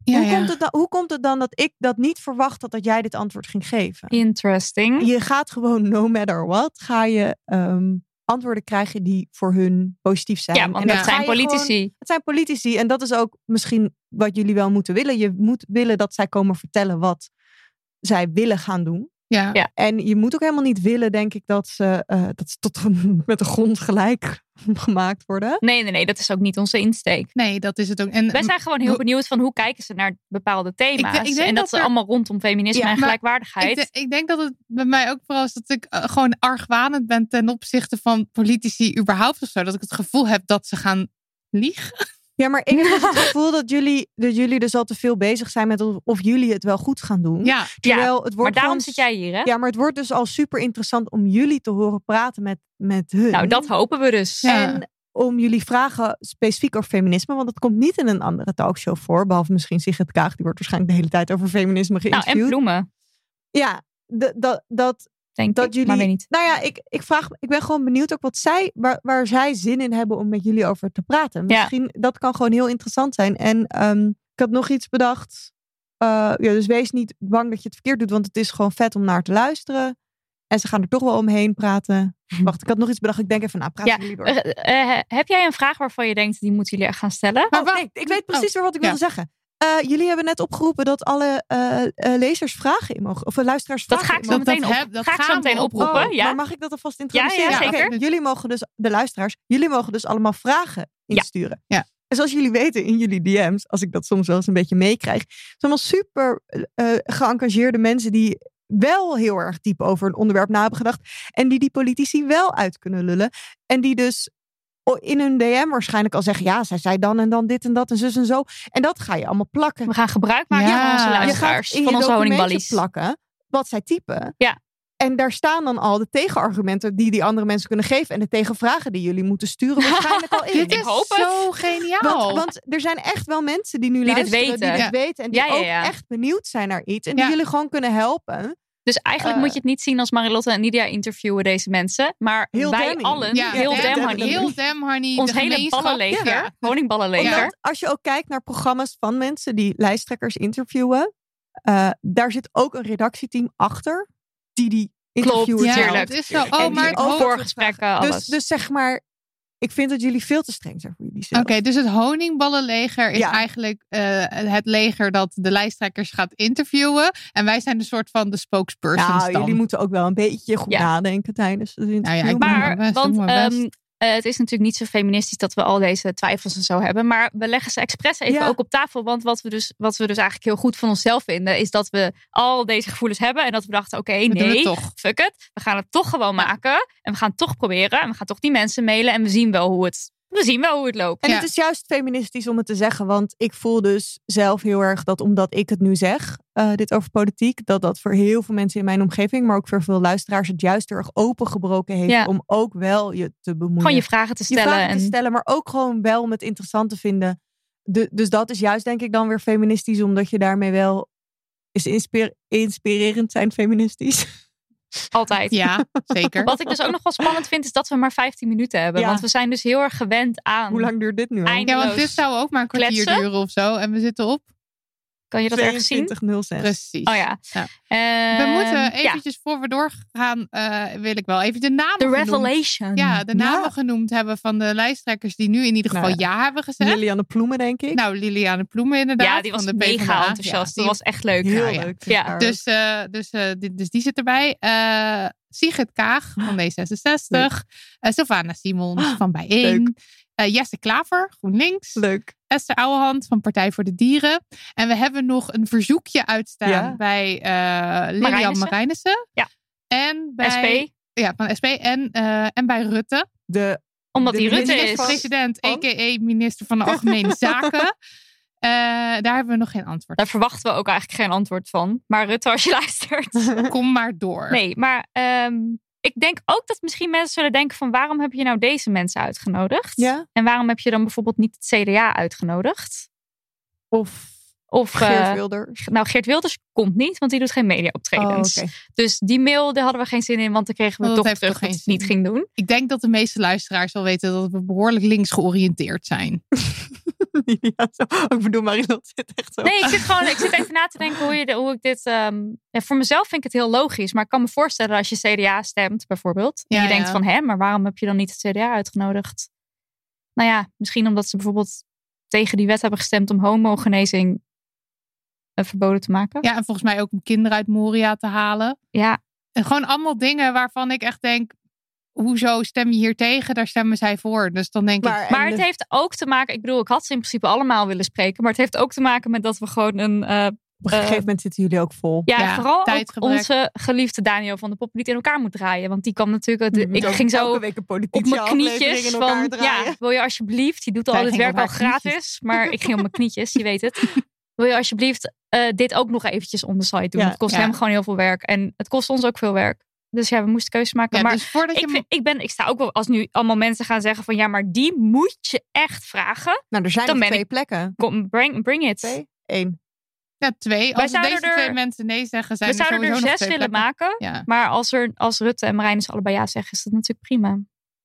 Speaker 3: Ja,
Speaker 2: hoe,
Speaker 3: ja.
Speaker 2: Komt het dan, hoe komt het dan dat ik dat niet verwacht had dat jij dit antwoord ging geven?
Speaker 4: Interesting.
Speaker 2: Je gaat gewoon, no matter what, ga je ehm, antwoorden krijgen die voor hun positief zijn.
Speaker 4: Ja, want
Speaker 2: En
Speaker 4: dat
Speaker 2: ga
Speaker 4: zijn
Speaker 2: je gewoon-
Speaker 4: politici.
Speaker 2: het zijn politici en dat is ook misschien wat jullie wel moeten willen. Je moet willen dat zij komen vertellen wat zij willen gaan doen.
Speaker 3: ja.
Speaker 4: Ja.
Speaker 2: En je moet ook helemaal niet willen, denk ik, dat ze, eh, dat ze tot met de grond gelijk gemaakt worden.
Speaker 4: Nee, nee, nee. Dat is ook niet onze insteek.
Speaker 3: Nee, dat is het ook. En,
Speaker 4: Wij zijn gewoon heel
Speaker 3: hoe-
Speaker 4: benieuwd van hoe kijken ze naar bepaalde thema's.
Speaker 3: ik denk
Speaker 4: en dat,
Speaker 3: dat
Speaker 4: ze
Speaker 3: er-
Speaker 4: allemaal rondom feminisme
Speaker 3: Ja,
Speaker 4: en
Speaker 3: maar
Speaker 4: gelijkwaardigheid.
Speaker 3: Ik, de- ik denk dat het bij mij ook vooral is dat ik eh, gewoon argwanend ben ten opzichte van politici überhaupt of zo. Dat ik het gevoel heb dat ze gaan liegen.
Speaker 2: Ja, maar ik heb dus het gevoel dat jullie, dat jullie dus al te veel bezig zijn met of, of jullie het wel goed gaan doen.
Speaker 3: Ja,
Speaker 2: Terwijl het wordt
Speaker 4: maar daarom
Speaker 2: gewoon-
Speaker 4: zit jij hier, hè?
Speaker 2: Ja, maar het wordt dus al super interessant om jullie te horen praten met, met hun.
Speaker 4: Nou, dat hopen we dus.
Speaker 3: Ja.
Speaker 2: En om jullie vragen specifiek over feminisme, want dat komt niet in een andere talkshow voor. Behalve misschien Sigrid Kaag, die wordt waarschijnlijk de hele tijd over feminisme
Speaker 4: Nou, en
Speaker 2: geïnterviewd.
Speaker 4: bloemen.
Speaker 2: ja, d- dat, dat
Speaker 4: denk
Speaker 2: dat
Speaker 4: ik.
Speaker 2: jullie.
Speaker 4: Maar weet niet.
Speaker 2: Nou ja, ik, ik, vraag, ik ben gewoon benieuwd ook wat zij, waar, waar zij zin in hebben om met jullie over te praten.
Speaker 4: Ja.
Speaker 2: Misschien dat kan gewoon heel interessant zijn. En ehm, ik had nog iets bedacht. Eh, ja, dus wees niet bang dat je het verkeerd doet, want het is gewoon vet om naar te luisteren. En ze gaan er toch wel omheen praten. Wacht, ik had nog iets bedacht. Ik denk even nou, na,
Speaker 4: Ja,
Speaker 2: praten jullie door. Oh,
Speaker 4: Eh, eh, heb jij een vraag waarvan je denkt, die moeten jullie echt gaan stellen?
Speaker 3: Maar
Speaker 2: Oh,
Speaker 3: wacht.
Speaker 2: nee, ik weet
Speaker 3: Oh,
Speaker 2: precies weer wat ik
Speaker 3: ja.
Speaker 2: wilde zeggen. Eh, jullie hebben net opgeroepen dat alle eh, eh, lezers vragen in mogen. Of eh, luisteraars
Speaker 4: Dat
Speaker 2: vragen
Speaker 4: ga
Speaker 2: in
Speaker 4: ik zo
Speaker 3: Dat-
Speaker 2: mogen.
Speaker 4: meteen,
Speaker 3: dat
Speaker 4: op,
Speaker 3: heb- dat
Speaker 4: ga ik zo
Speaker 3: gaan
Speaker 4: meteen
Speaker 3: we
Speaker 4: oproepen.
Speaker 2: Oh,
Speaker 4: ja.
Speaker 2: Maar mag ik dat alvast
Speaker 4: ja,
Speaker 2: introduceren?
Speaker 4: zeker.
Speaker 2: Oké, Jullie mogen dus, de luisteraars, jullie mogen dus allemaal vragen insturen.
Speaker 3: Ja.
Speaker 2: En zoals jullie weten in jullie DM's, als ik dat soms wel eens een beetje meekrijg, zijn allemaal super eh, geëngageerde mensen die wel heel erg diep over een onderwerp na hebben gedacht. En die die politici wel uit kunnen lullen. En die dus o- in hun DM waarschijnlijk al zeggen, ja, zij zei dan en dan dit en dat en zus en zo. En dat ga je allemaal plakken.
Speaker 4: We gaan gebruik maken
Speaker 3: Ja.
Speaker 4: van onze
Speaker 3: Je gaat
Speaker 4: luisteraars,
Speaker 2: Je gaat in
Speaker 4: van
Speaker 2: je
Speaker 4: onze
Speaker 2: documentje
Speaker 4: honingballies.
Speaker 2: plakken wat zij typen.
Speaker 4: Ja.
Speaker 2: En daar staan dan al de tegenargumenten die die andere mensen kunnen geven. En de tegenvragen die jullie moeten sturen waarschijnlijk al in.
Speaker 3: Dit is
Speaker 4: hoop het.
Speaker 3: zo geniaal.
Speaker 2: Want, want er zijn echt wel mensen die nu
Speaker 4: Oh. dit
Speaker 2: luisteren, die
Speaker 4: weten.
Speaker 2: dit
Speaker 3: Ja.
Speaker 2: weten. En die
Speaker 4: Ja, ja, ja.
Speaker 2: ook echt benieuwd zijn naar iets. En die
Speaker 3: Ja.
Speaker 2: jullie gewoon kunnen helpen.
Speaker 4: Dus eigenlijk
Speaker 2: Eh.
Speaker 4: moet je het niet zien als Marilotte en Nidia interviewen deze mensen. Maar
Speaker 2: Heel
Speaker 4: wij
Speaker 2: damning.
Speaker 4: allen,
Speaker 3: ja,
Speaker 4: heel
Speaker 2: damn,
Speaker 4: damn
Speaker 2: damn,
Speaker 4: honey.
Speaker 3: Heel damn honey.
Speaker 4: ons
Speaker 3: de
Speaker 4: hele
Speaker 3: gemeenschap.
Speaker 4: ballenleger,
Speaker 3: Ja.
Speaker 4: honingballenleger.
Speaker 2: Omdat als je ook kijkt naar programma's van mensen die lijsttrekkers interviewen. eh, daar zit ook een redactieteam achter die die interviewers
Speaker 4: Ja,
Speaker 2: helpt.
Speaker 4: tuurlijk.
Speaker 3: dat is zo.
Speaker 2: En
Speaker 3: Oh,
Speaker 2: die
Speaker 3: maar het
Speaker 2: ook-
Speaker 3: hoofd-
Speaker 2: Voor-
Speaker 4: Voorgesprekken, alles.
Speaker 2: Dus, dus zeg maar, ik vind dat jullie veel te streng zijn voor jullie zelf.
Speaker 3: Oké, dus het honingballenleger is
Speaker 2: Ja.
Speaker 3: eigenlijk eh, het leger dat de lijsttrekkers gaat interviewen. En wij zijn een soort van de spokespersons
Speaker 2: Nou,
Speaker 3: dan.
Speaker 2: jullie moeten ook wel een beetje goed
Speaker 4: Ja.
Speaker 2: nadenken tijdens het interview.
Speaker 3: Nou ja, ik doe
Speaker 4: maar,
Speaker 3: mijn best,
Speaker 4: want
Speaker 3: doe mijn
Speaker 4: ehm, eh, het is natuurlijk niet zo feministisch dat we al deze twijfels en zo hebben. Maar we leggen ze expres even
Speaker 2: Ja.
Speaker 4: ook op tafel. Want wat we, dus, wat we dus eigenlijk heel goed van onszelf vinden, is dat we al deze gevoelens hebben. En dat we dachten, oké,
Speaker 3: We doen
Speaker 4: nee,
Speaker 3: het toch.
Speaker 4: fuck het. We gaan het toch gewoon maken. En we gaan het toch proberen. En we gaan toch die mensen mailen. En we zien wel hoe het, we zien wel hoe het loopt.
Speaker 2: En
Speaker 3: Ja.
Speaker 2: het is juist feministisch om het te zeggen, want ik voel dus zelf heel erg dat omdat ik het nu zeg, eh, dit over politiek, dat dat voor heel veel mensen in mijn omgeving, maar ook voor veel luisteraars, het juist heel erg opengebroken heeft
Speaker 4: Ja.
Speaker 2: om ook wel je te bemoeien.
Speaker 4: Gewoon je vragen te
Speaker 2: Je
Speaker 4: stellen.
Speaker 2: vragen
Speaker 4: en,
Speaker 2: te stellen, maar ook gewoon wel om het interessant te vinden. De- dus dat is juist denk ik dan weer feministisch, omdat je daarmee wel is inspire- inspirerend zijn feministisch.
Speaker 4: Altijd.
Speaker 3: Ja, zeker.
Speaker 4: Wat ik dus ook nog wel spannend vind, is dat we maar 15 minuten hebben.
Speaker 2: Ja.
Speaker 4: Want we zijn dus heel erg gewend aan.
Speaker 2: Hoe lang duurt dit nu? al?
Speaker 4: Eind-
Speaker 3: Ja, want
Speaker 4: eindeloos
Speaker 3: dit zou ook maar een kwartier
Speaker 4: kletsen?
Speaker 3: duren of zo. En we zitten op.
Speaker 4: Kan je dat ergens zien?
Speaker 2: 22.06.
Speaker 3: Precies.
Speaker 4: Oh ja.
Speaker 3: Ja.
Speaker 4: Ehm,
Speaker 3: We moeten
Speaker 4: ja.
Speaker 3: eventjes voor we doorgaan, eh, wil ik wel even de namen
Speaker 4: The
Speaker 3: genoemd-
Speaker 4: Revelation.
Speaker 3: Ja, de namen
Speaker 2: Ja.
Speaker 3: genoemd hebben van de lijsttrekkers die nu in ieder
Speaker 2: Nou
Speaker 3: geval ja. hebben gezegd.
Speaker 2: Lilianne Ploemen, denk ik.
Speaker 3: Nou, Liliane Ploemen inderdaad.
Speaker 4: Ja, die was
Speaker 3: van de
Speaker 4: mega
Speaker 3: PvdA.
Speaker 4: enthousiast.
Speaker 3: Ja,
Speaker 4: Dat was echt leuk.
Speaker 2: Heel
Speaker 3: ja.
Speaker 2: leuk.
Speaker 4: Ja,
Speaker 2: Haar.
Speaker 3: Dus, eh, dus, eh, die, dus die zit erbij. Eh Sigrid Kaag
Speaker 4: Ah.
Speaker 3: van D66.
Speaker 2: Leuk.
Speaker 3: Eh, Sylvana Simons
Speaker 2: Ah,
Speaker 3: van Bijeen. Eh, Jesse Klaver, GroenLinks.
Speaker 2: leuk.
Speaker 3: Esther Ouwehand van Partij voor de Dieren. En we hebben nog een verzoekje uitstaan
Speaker 2: Ja.
Speaker 3: bij eh Lilian
Speaker 4: Marijnissen.
Speaker 3: Marijnissen.
Speaker 4: Ja.
Speaker 3: En bij,
Speaker 4: SP.
Speaker 3: Ja, van SP. En, eh, en bij Rutte.
Speaker 2: De,
Speaker 4: Omdat
Speaker 2: De
Speaker 4: die Rutte
Speaker 2: minister van-
Speaker 4: is. Oh.
Speaker 3: President,
Speaker 2: Van?
Speaker 3: a.k.a. minister van de Algemene Zaken. Eh, daar hebben we nog geen antwoord
Speaker 4: Daar verwachten we ook eigenlijk geen antwoord van. Maar Rutte, als je luistert.
Speaker 3: op. Kom maar door.
Speaker 4: Nee, maar ehm, ik denk ook dat misschien mensen zullen denken van... waarom heb je nou deze mensen uitgenodigd?
Speaker 2: ja?
Speaker 4: En waarom heb je dan bijvoorbeeld niet het CDA uitgenodigd?
Speaker 2: Of
Speaker 4: Of
Speaker 2: Geert
Speaker 4: eh,
Speaker 2: Wilders.
Speaker 4: nou, Geert Wilders komt niet, want die doet geen mediaoptredens.
Speaker 2: Oh, oké.
Speaker 4: Dus die mail, daar hadden we geen zin in, want dan kregen we
Speaker 3: Oh, dat
Speaker 4: toch
Speaker 3: heeft
Speaker 4: terug
Speaker 3: toch
Speaker 4: dat
Speaker 3: geen
Speaker 4: het niet
Speaker 3: zin.
Speaker 4: ging doen.
Speaker 3: Ik denk dat de meeste luisteraars wel weten dat we behoorlijk links georiënteerd zijn.
Speaker 2: ja, zo. Oh, Ik bedoel, Marilot zit echt zo.
Speaker 4: Nee, ik zit gewoon ik zit even na te denken hoe, je, de- hoe ik dit... ehm, ja, voor mezelf vind ik het heel logisch. Maar ik kan me voorstellen als je CDA stemt bijvoorbeeld. En
Speaker 3: Ja,
Speaker 4: je denkt
Speaker 3: ja.
Speaker 4: van, hè, maar waarom heb je dan niet het CDA uitgenodigd? Nou ja, misschien omdat ze bijvoorbeeld tegen die wet hebben gestemd... om homogenezing eh, verboden te maken.
Speaker 3: Ja, en volgens mij ook om kinderen uit Moria te halen.
Speaker 4: Ja,
Speaker 3: En gewoon allemaal dingen waarvan ik echt denk, hoezo stem je hier tegen? Daar stemmen zij voor. Dus dan denk ik,
Speaker 4: maar
Speaker 2: en
Speaker 4: het
Speaker 2: de-
Speaker 4: heeft ook te maken... Ik bedoel, ik had ze in principe allemaal willen spreken. Maar het heeft ook te maken met dat we gewoon een... eh,
Speaker 2: op een gegeven
Speaker 4: eh,
Speaker 2: moment zitten jullie ook vol.
Speaker 4: Ja,
Speaker 3: Ja,
Speaker 4: vooral ook
Speaker 3: tijdgebrek.
Speaker 4: onze geliefde Daniel van de Pop niet in elkaar moet draaien. Want die kwam natuurlijk...
Speaker 3: Mhm.
Speaker 4: Ik ging zo
Speaker 2: Elke week een
Speaker 4: op
Speaker 2: politieke
Speaker 4: mijn
Speaker 2: aflevering
Speaker 4: knietjes
Speaker 2: in elkaar
Speaker 4: van...
Speaker 2: draaien.
Speaker 4: Ja, wil je alsjeblieft... Die doet al
Speaker 3: Zij
Speaker 4: dit
Speaker 3: ging
Speaker 4: werk
Speaker 3: op
Speaker 4: al
Speaker 3: haar knietjes.
Speaker 4: gratis. Maar ik ging op mijn knietjes, je weet het. Wil je alsjeblieft eh, dit ook nog eventjes on the side doen?
Speaker 2: Ja,
Speaker 4: het kost
Speaker 3: ja.
Speaker 4: hem gewoon heel veel werk. En het kost ons ook veel werk. Dus ja, we moesten keuzes maken.
Speaker 3: ja,
Speaker 4: maar
Speaker 3: dus voordat je...
Speaker 4: ik, vind- ik, ben, ik sta ook wel... Als nu allemaal mensen gaan zeggen van... Ja, maar die moet je echt vragen.
Speaker 2: Nou, er zijn
Speaker 4: Dan
Speaker 2: nog
Speaker 4: ben
Speaker 2: twee plekken.
Speaker 4: Kom, bring, bring it.
Speaker 2: Twee? Eén.
Speaker 3: Ja, twee.
Speaker 4: Wij
Speaker 3: Als
Speaker 4: zouden
Speaker 3: deze
Speaker 4: er-
Speaker 3: twee mensen nee zeggen, zijn
Speaker 4: We
Speaker 3: er
Speaker 4: zouden
Speaker 3: sowieso
Speaker 4: er
Speaker 3: nog
Speaker 4: zes
Speaker 3: twee
Speaker 4: willen
Speaker 3: plekken.
Speaker 4: maken.
Speaker 3: Ja.
Speaker 4: Maar als, er, als Rutte en Marijnus allebei ja zeggen, is dat natuurlijk prima.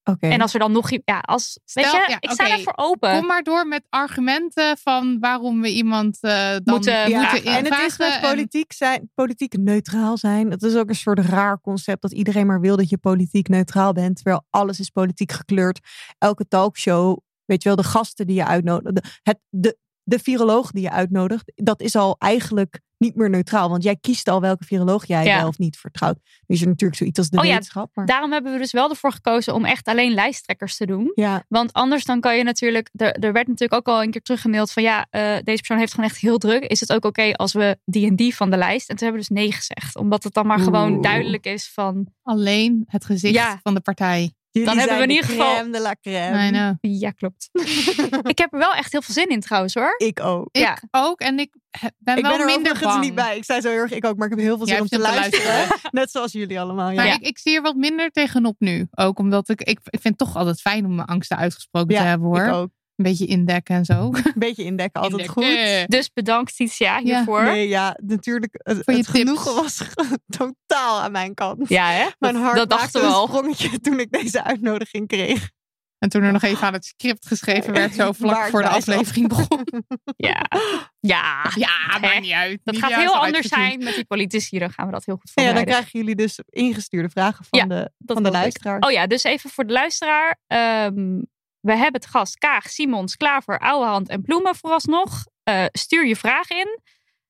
Speaker 2: Oké.
Speaker 4: En als er dan nog... i- Ja, als, weet
Speaker 3: Stel-
Speaker 4: je,
Speaker 3: ja,
Speaker 4: ik sta
Speaker 3: oké.
Speaker 4: daarvoor open.
Speaker 3: Kom maar door met argumenten van waarom we iemand eh, dan
Speaker 4: Moeten vragen.
Speaker 3: moeten
Speaker 4: En dus
Speaker 2: En het is
Speaker 3: invragen
Speaker 2: met
Speaker 3: en-
Speaker 2: politiek, zijn, politiek neutraal zijn. Dat is ook een soort raar concept dat iedereen maar wil dat je politiek neutraal bent. Terwijl alles is politiek gekleurd. Elke talkshow, weet je wel, de gasten die je uitnodigt. De, het, de, de viroloog die je uitnodigt, dat is al eigenlijk niet meer neutraal. Want jij kiest al welke viroloog jij
Speaker 4: Ja.
Speaker 2: wel of niet vertrouwt. Nu is er natuurlijk zoiets als de
Speaker 4: Oh ja,
Speaker 2: wetenschap. Maar,
Speaker 4: Daarom hebben we dus wel ervoor gekozen om echt alleen lijsttrekkers te doen.
Speaker 2: ja,
Speaker 4: Want anders dan kan je natuurlijk... Er, er werd natuurlijk ook al een keer teruggemaild van... Ja, eh, deze persoon heeft gewoon echt heel druk. Is het ook oké als we die en die van de lijst? En toen hebben we dus nee gezegd. Omdat het dan maar gewoon
Speaker 2: Oeh.
Speaker 4: duidelijk is van...
Speaker 3: alleen het gezicht
Speaker 4: Ja.
Speaker 3: van de partij.
Speaker 2: Jullie
Speaker 4: hebben
Speaker 2: zijn
Speaker 4: we in
Speaker 2: de
Speaker 4: ieder geval-
Speaker 2: crème de la crème.
Speaker 3: I know.
Speaker 4: Ja, klopt. ik heb er wel echt heel veel zin in trouwens hoor.
Speaker 2: Ik ook.
Speaker 3: Ik
Speaker 4: Ja.
Speaker 3: ook. En ik he- ben
Speaker 2: Ik
Speaker 3: wel
Speaker 2: ben er
Speaker 3: minder
Speaker 2: overigens
Speaker 3: bang.
Speaker 2: niet bij. Ik zei zo heel erg, ik ook, maar ik heb heel veel
Speaker 3: Jij
Speaker 2: zin om
Speaker 3: hebt
Speaker 2: te
Speaker 3: zin te
Speaker 2: luisteren.
Speaker 3: luisteren.
Speaker 2: Net zoals jullie allemaal. Ja.
Speaker 3: Maar ik, ik zie er wat minder tegenop nu. Ook omdat ik, ik, ik vind het toch altijd fijn om mijn angsten uitgesproken
Speaker 2: Ja,
Speaker 3: te hebben hoor.
Speaker 2: Ik ook.
Speaker 3: Een beetje indekken en zo.
Speaker 2: Een beetje indekken, altijd
Speaker 3: Indekken.
Speaker 2: goed.
Speaker 4: Dus bedankt Titia hiervoor. Ja,
Speaker 2: Nee, ja, natuurlijk. Het,
Speaker 3: Voor je
Speaker 2: het genoegen
Speaker 3: tips.
Speaker 2: was totaal aan mijn kant.
Speaker 4: hè?
Speaker 2: Mijn
Speaker 4: Dat-
Speaker 2: hart
Speaker 4: dat
Speaker 2: maakte
Speaker 4: dachten we
Speaker 2: een
Speaker 4: al.
Speaker 2: sprongetje toen ik deze uitnodiging kreeg.
Speaker 3: En toen er nog even aan het script geschreven werd, zo
Speaker 2: Waar
Speaker 3: vlak
Speaker 2: ik
Speaker 3: voor de
Speaker 2: bij zat.
Speaker 3: aflevering begon.
Speaker 4: Ja. ja.
Speaker 3: Ja,
Speaker 4: Hè?
Speaker 3: maakt niet uit.
Speaker 4: Dat
Speaker 3: Niet
Speaker 4: gaat
Speaker 3: juist
Speaker 4: heel
Speaker 3: eruit
Speaker 4: anders
Speaker 3: gezien.
Speaker 4: zijn met die politici. Dan gaan we dat heel goed
Speaker 2: ja, dan
Speaker 4: voorbereiden.
Speaker 2: krijgen jullie dus ingestuurde vragen van
Speaker 4: Ja,
Speaker 2: de,
Speaker 4: Dat
Speaker 2: van de
Speaker 4: hoop ik.
Speaker 2: luisteraar.
Speaker 4: Oh ja, dus even voor de luisteraar. Ehm, we hebben het gast Kaag, Simons, Klaver, Ouwehand en Bloemen vooralsnog. Eh, stuur je vraag in.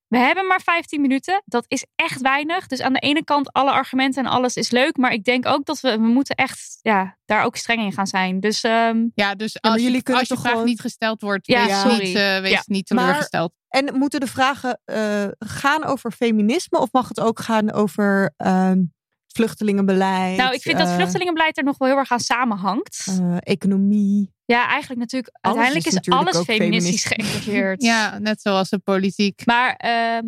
Speaker 4: We hebben maar 15 minuten. Dat is echt weinig. Dus aan de ene kant alle argumenten en alles is leuk. Maar ik denk ook dat we, we moeten echt ja, daar ook streng in gaan zijn. Dus ehm,
Speaker 3: Ja, dus
Speaker 2: maar
Speaker 3: als,
Speaker 2: jullie
Speaker 3: je,
Speaker 2: kunnen
Speaker 3: als je
Speaker 2: toch
Speaker 3: vraag
Speaker 2: gewoon-
Speaker 3: niet gesteld wordt,
Speaker 4: Ja,
Speaker 3: wees,
Speaker 4: sorry.
Speaker 3: niet, eh, wees
Speaker 4: Ja.
Speaker 3: niet
Speaker 2: Maar-
Speaker 3: teleurgesteld.
Speaker 2: En moeten de vragen eh, gaan over feminisme of mag het ook gaan over ehm, vluchtelingenbeleid?
Speaker 4: nou, ik vind dat
Speaker 2: eh,
Speaker 4: vluchtelingenbeleid er nog wel heel erg aan samenhangt.
Speaker 2: eh, economie.
Speaker 4: ja, eigenlijk natuurlijk.
Speaker 2: alles
Speaker 4: uiteindelijk
Speaker 2: is
Speaker 4: is,
Speaker 2: natuurlijk
Speaker 4: alles
Speaker 2: ook
Speaker 4: feministisch
Speaker 2: feministisch.
Speaker 4: geïnteresseerd.
Speaker 3: Ja, net zoals de politiek.
Speaker 4: Maar ehm,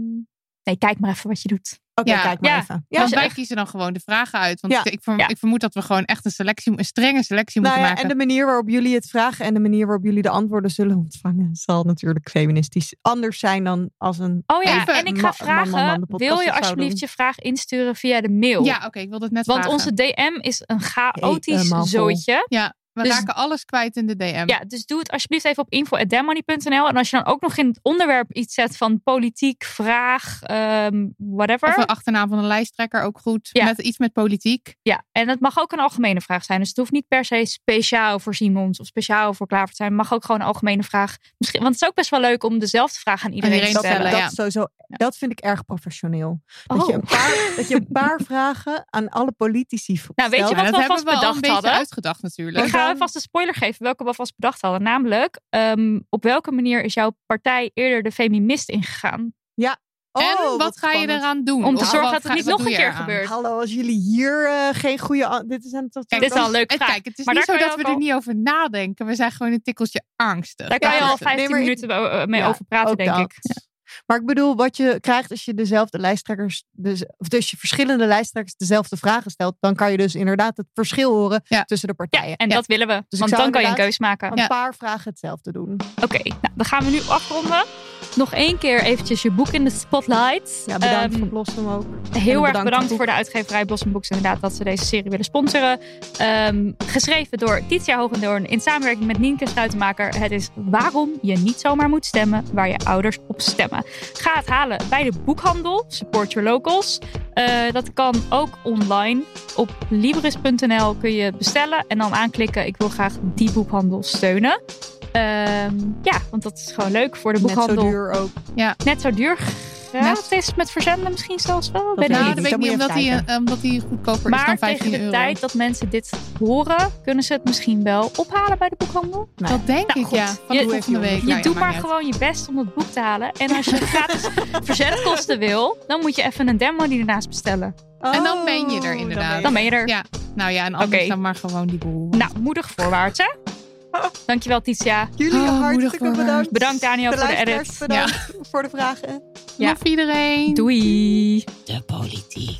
Speaker 4: nee, kijk maar even wat je doet.
Speaker 2: Oké,
Speaker 3: Ja.
Speaker 2: kijk maar
Speaker 4: Ja.
Speaker 2: even.
Speaker 3: want
Speaker 4: ze
Speaker 3: wij
Speaker 4: echt-
Speaker 3: kiezen dan gewoon de vragen uit. Want
Speaker 2: Ja.
Speaker 3: ik, ik, verm-
Speaker 4: Ja.
Speaker 3: ik vermoed dat we gewoon echt een selectie, een strenge selectie
Speaker 2: Nou
Speaker 3: moeten
Speaker 2: ja, en
Speaker 3: maken.
Speaker 2: de manier waarop jullie het vragen en de manier waarop jullie de antwoorden zullen ontvangen, zal natuurlijk feministisch anders zijn dan als een.
Speaker 4: Oh ja,
Speaker 3: Even
Speaker 4: en ik
Speaker 2: ma-
Speaker 4: ga vragen,
Speaker 2: man, man, man, de podcast
Speaker 4: wil je
Speaker 2: dat zou
Speaker 4: alsjeblieft
Speaker 2: doen.
Speaker 4: je vraag insturen via de mail?
Speaker 3: Ja, oké, ik wil dat net
Speaker 4: Want
Speaker 3: vragen.
Speaker 4: onze DM is een chaotisch
Speaker 2: Helemaal vol.
Speaker 4: zooitje.
Speaker 3: We
Speaker 4: dus-
Speaker 3: raken alles kwijt in de DM.
Speaker 4: Ja, dus doe het alsjeblieft even op info.demoney.nl. En als je dan ook nog in het onderwerp iets zet van politiek, vraag, ehm, whatever.
Speaker 3: Of een achternaam van een lijsttrekker ook goed.
Speaker 4: Ja.
Speaker 3: Met iets met politiek.
Speaker 4: Ja, en het mag ook een algemene vraag zijn. Dus het hoeft niet per se speciaal voor Simons of speciaal voor Klaver te zijn. Het mag ook gewoon een algemene vraag. Misschien, want het is ook best wel leuk om dezelfde vraag aan iedereen,
Speaker 3: iedereen
Speaker 4: te
Speaker 2: Dat,
Speaker 4: stellen.
Speaker 2: dat,
Speaker 3: ja.
Speaker 2: is sowieso, dat vind ik erg professioneel. Dat,
Speaker 4: Oh.
Speaker 2: je een paar, dat je een paar vragen aan alle politici v-
Speaker 4: Nou, weet je
Speaker 2: stelt.
Speaker 4: wat
Speaker 3: Maar
Speaker 4: we
Speaker 3: dat
Speaker 4: alvast
Speaker 3: hebben we al een
Speaker 4: bedacht
Speaker 3: beetje
Speaker 4: hadden.
Speaker 3: uitgedacht natuurlijk.
Speaker 4: Ik ga alvast een spoiler geven welke we alvast bedacht hadden. Namelijk, ehm, op welke manier is jouw partij eerder de feminist ingegaan?
Speaker 2: Oh,
Speaker 3: en wat, ga je
Speaker 2: spannend.
Speaker 3: eraan doen?
Speaker 4: Om te
Speaker 3: Of
Speaker 4: zorgen
Speaker 3: wat
Speaker 4: dat het
Speaker 3: ga-
Speaker 4: niet
Speaker 3: wat
Speaker 4: nog
Speaker 3: doe
Speaker 4: een
Speaker 3: je
Speaker 4: keer
Speaker 3: eraan?
Speaker 4: gebeurt.
Speaker 2: Hallo, als jullie hier eh, geen goede. an- Dit zijn toch.
Speaker 4: Dit is al een leuk
Speaker 3: Het,
Speaker 4: vraag.
Speaker 3: kijk, het is
Speaker 4: Maar
Speaker 3: niet
Speaker 4: daar
Speaker 3: zo
Speaker 4: kan je
Speaker 3: dat we
Speaker 4: ook
Speaker 3: er
Speaker 4: al-
Speaker 3: niet over nadenken. We zijn gewoon een tikkeltje angstig.
Speaker 4: Daar kan je al
Speaker 2: Ja, dus-
Speaker 4: 15
Speaker 2: nee, maar ik-
Speaker 4: minuten eh, mee
Speaker 2: Ja,
Speaker 4: over praten,
Speaker 2: ook
Speaker 4: denk
Speaker 2: dat.
Speaker 4: ik.
Speaker 2: Maar ik bedoel, wat je krijgt als je dezelfde lijsttrekkers, dus, of dus je verschillende lijsttrekkers dezelfde vragen stelt, dan kan je dus inderdaad het verschil horen
Speaker 3: Ja.
Speaker 2: tussen de
Speaker 4: Ja,
Speaker 2: partijen.
Speaker 4: en dat willen we.
Speaker 2: Dus ik
Speaker 4: want
Speaker 2: zou
Speaker 4: dan kan je een
Speaker 2: inderdaad-
Speaker 4: keus maken.
Speaker 2: Een
Speaker 3: Ja.
Speaker 2: paar vragen hetzelfde doen.
Speaker 4: Oké, nou, dan gaan we nu afronden. Nog één keer eventjes je boek in de spotlight.
Speaker 2: Ja, bedankt
Speaker 4: Ehm,
Speaker 2: voor Blossom ook.
Speaker 4: Heel
Speaker 2: En
Speaker 4: erg
Speaker 2: bedankt
Speaker 4: bedankt,
Speaker 2: boek.
Speaker 4: voor de uitgeverij Blossom Books inderdaad dat ze deze serie willen sponsoren. Ehm, geschreven door Titia Hoogendoorn in samenwerking met Nienke Schuitenmaker. Het is waarom je niet zomaar moet stemmen waar je ouders op stemmen. Ga het halen bij de boekhandel. Support your locals. Eh, dat kan ook online. Op Libris.nl kun je het bestellen en dan aanklikken ik wil graag die boekhandel steunen. Ehm, ja, want dat is gewoon leuk voor de
Speaker 2: Net zo
Speaker 4: boekhandel.
Speaker 2: duur ook.
Speaker 4: Net zo duur.
Speaker 3: Net-
Speaker 4: Gratis met verzenden misschien zelfs wel.
Speaker 2: weet
Speaker 4: Weet ik
Speaker 2: ik
Speaker 3: nou,
Speaker 4: niet.
Speaker 3: dat
Speaker 2: niet.
Speaker 3: weet ik
Speaker 2: Dat
Speaker 3: niet,
Speaker 2: moet je
Speaker 3: omdat
Speaker 2: even
Speaker 3: hij, eh, omdat hij goedkoper is
Speaker 4: Maar
Speaker 3: dan
Speaker 4: tegen
Speaker 3: 15
Speaker 4: de
Speaker 3: euro.
Speaker 4: tijd dat mensen dit horen, kunnen ze het misschien wel ophalen bij de boekhandel.
Speaker 2: Nou
Speaker 3: Dat denk
Speaker 4: Nou,
Speaker 3: ik,
Speaker 4: goed.
Speaker 3: ja. Van
Speaker 4: Je-
Speaker 3: de volgende week.
Speaker 4: Je
Speaker 3: Nou ja,
Speaker 4: doet
Speaker 3: maakt
Speaker 4: maar
Speaker 3: niet uit.
Speaker 4: gewoon je best om het boek te halen. En als je gratis verzendkosten wil, dan moet je even een demo die ernaast bestellen.
Speaker 3: En
Speaker 2: Oh,
Speaker 3: dan ben je er inderdaad.
Speaker 4: Dan ben je er.
Speaker 3: Ja. Nou ja, en anders
Speaker 4: Oké.
Speaker 3: dan maar gewoon die boel.
Speaker 4: Nou, moedig voorwaarts, hè? Dankjewel, Titia.
Speaker 2: Jullie
Speaker 3: Oh, moedig
Speaker 2: hartstikke
Speaker 3: worden.
Speaker 2: bedankt.
Speaker 4: Bedankt, Daniel,
Speaker 2: De
Speaker 4: voor de
Speaker 2: luisteraars
Speaker 4: edit.
Speaker 2: Bedankt voor de vragen.
Speaker 4: ja.
Speaker 3: Nog iedereen.
Speaker 4: Doei.
Speaker 5: de politiek.